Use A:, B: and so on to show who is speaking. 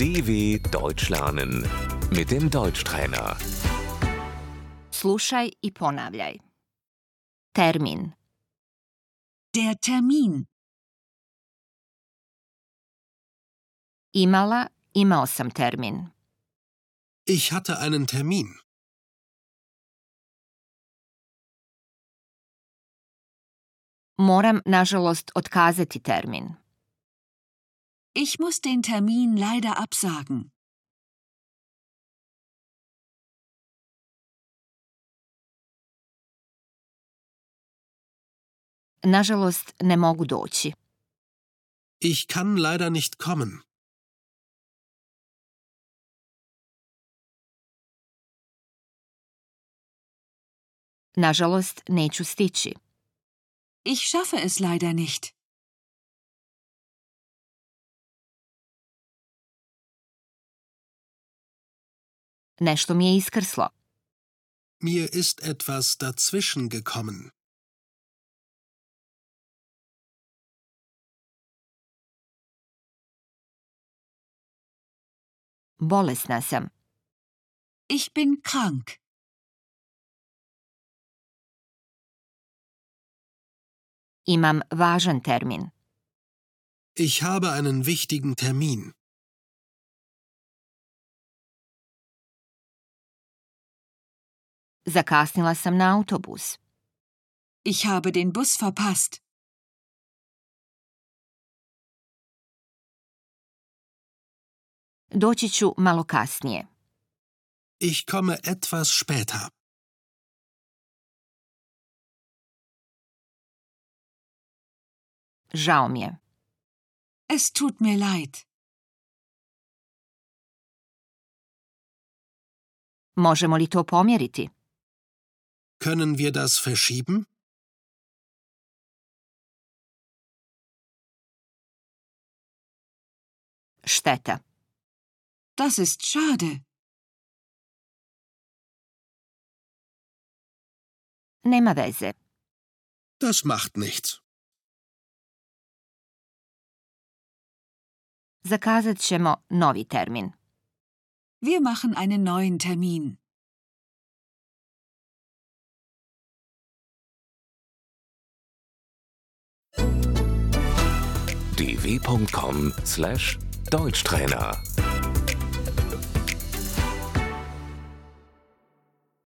A: DW Deutsch lernen mit dem Deutschtrainer.
B: Slušaj i ponavljaj. Termin.
C: Der Termin.
B: Imala, imao sam termin.
D: Ich hatte einen Termin.
B: Moram, nažalost, otkazati termin.
C: Ich muss den Termin leider absagen.
B: Nažalost, ne mogu doći.
D: Ich kann leider nicht kommen.
B: Nažalost, neću stići.
C: Ich schaffe es leider nicht.
B: Nešto mi je iskrslo.
D: Mir ist etwas dazwischen gekommen.
B: Bolesna sam.
C: Ich bin krank.
B: Imam važan termin.
D: Ich habe einen wichtigen Termin.
B: Zakasnila sam na autobus.
C: Ich habe den Bus verpasst.
B: Doći ću malo kasnije.
D: Ich komme etwas später.
B: Žao mi je.
C: Es tut mir leid.
B: Možemo li to pomjeriti?
D: Können wir das verschieben?
B: Šteta.
C: Das ist schade.
B: Nema veze.
D: Das macht nichts.
B: Zakazat ćemo novi termin.
C: Wir machen einen neuen Termin.
A: dw.com/deutschtrainer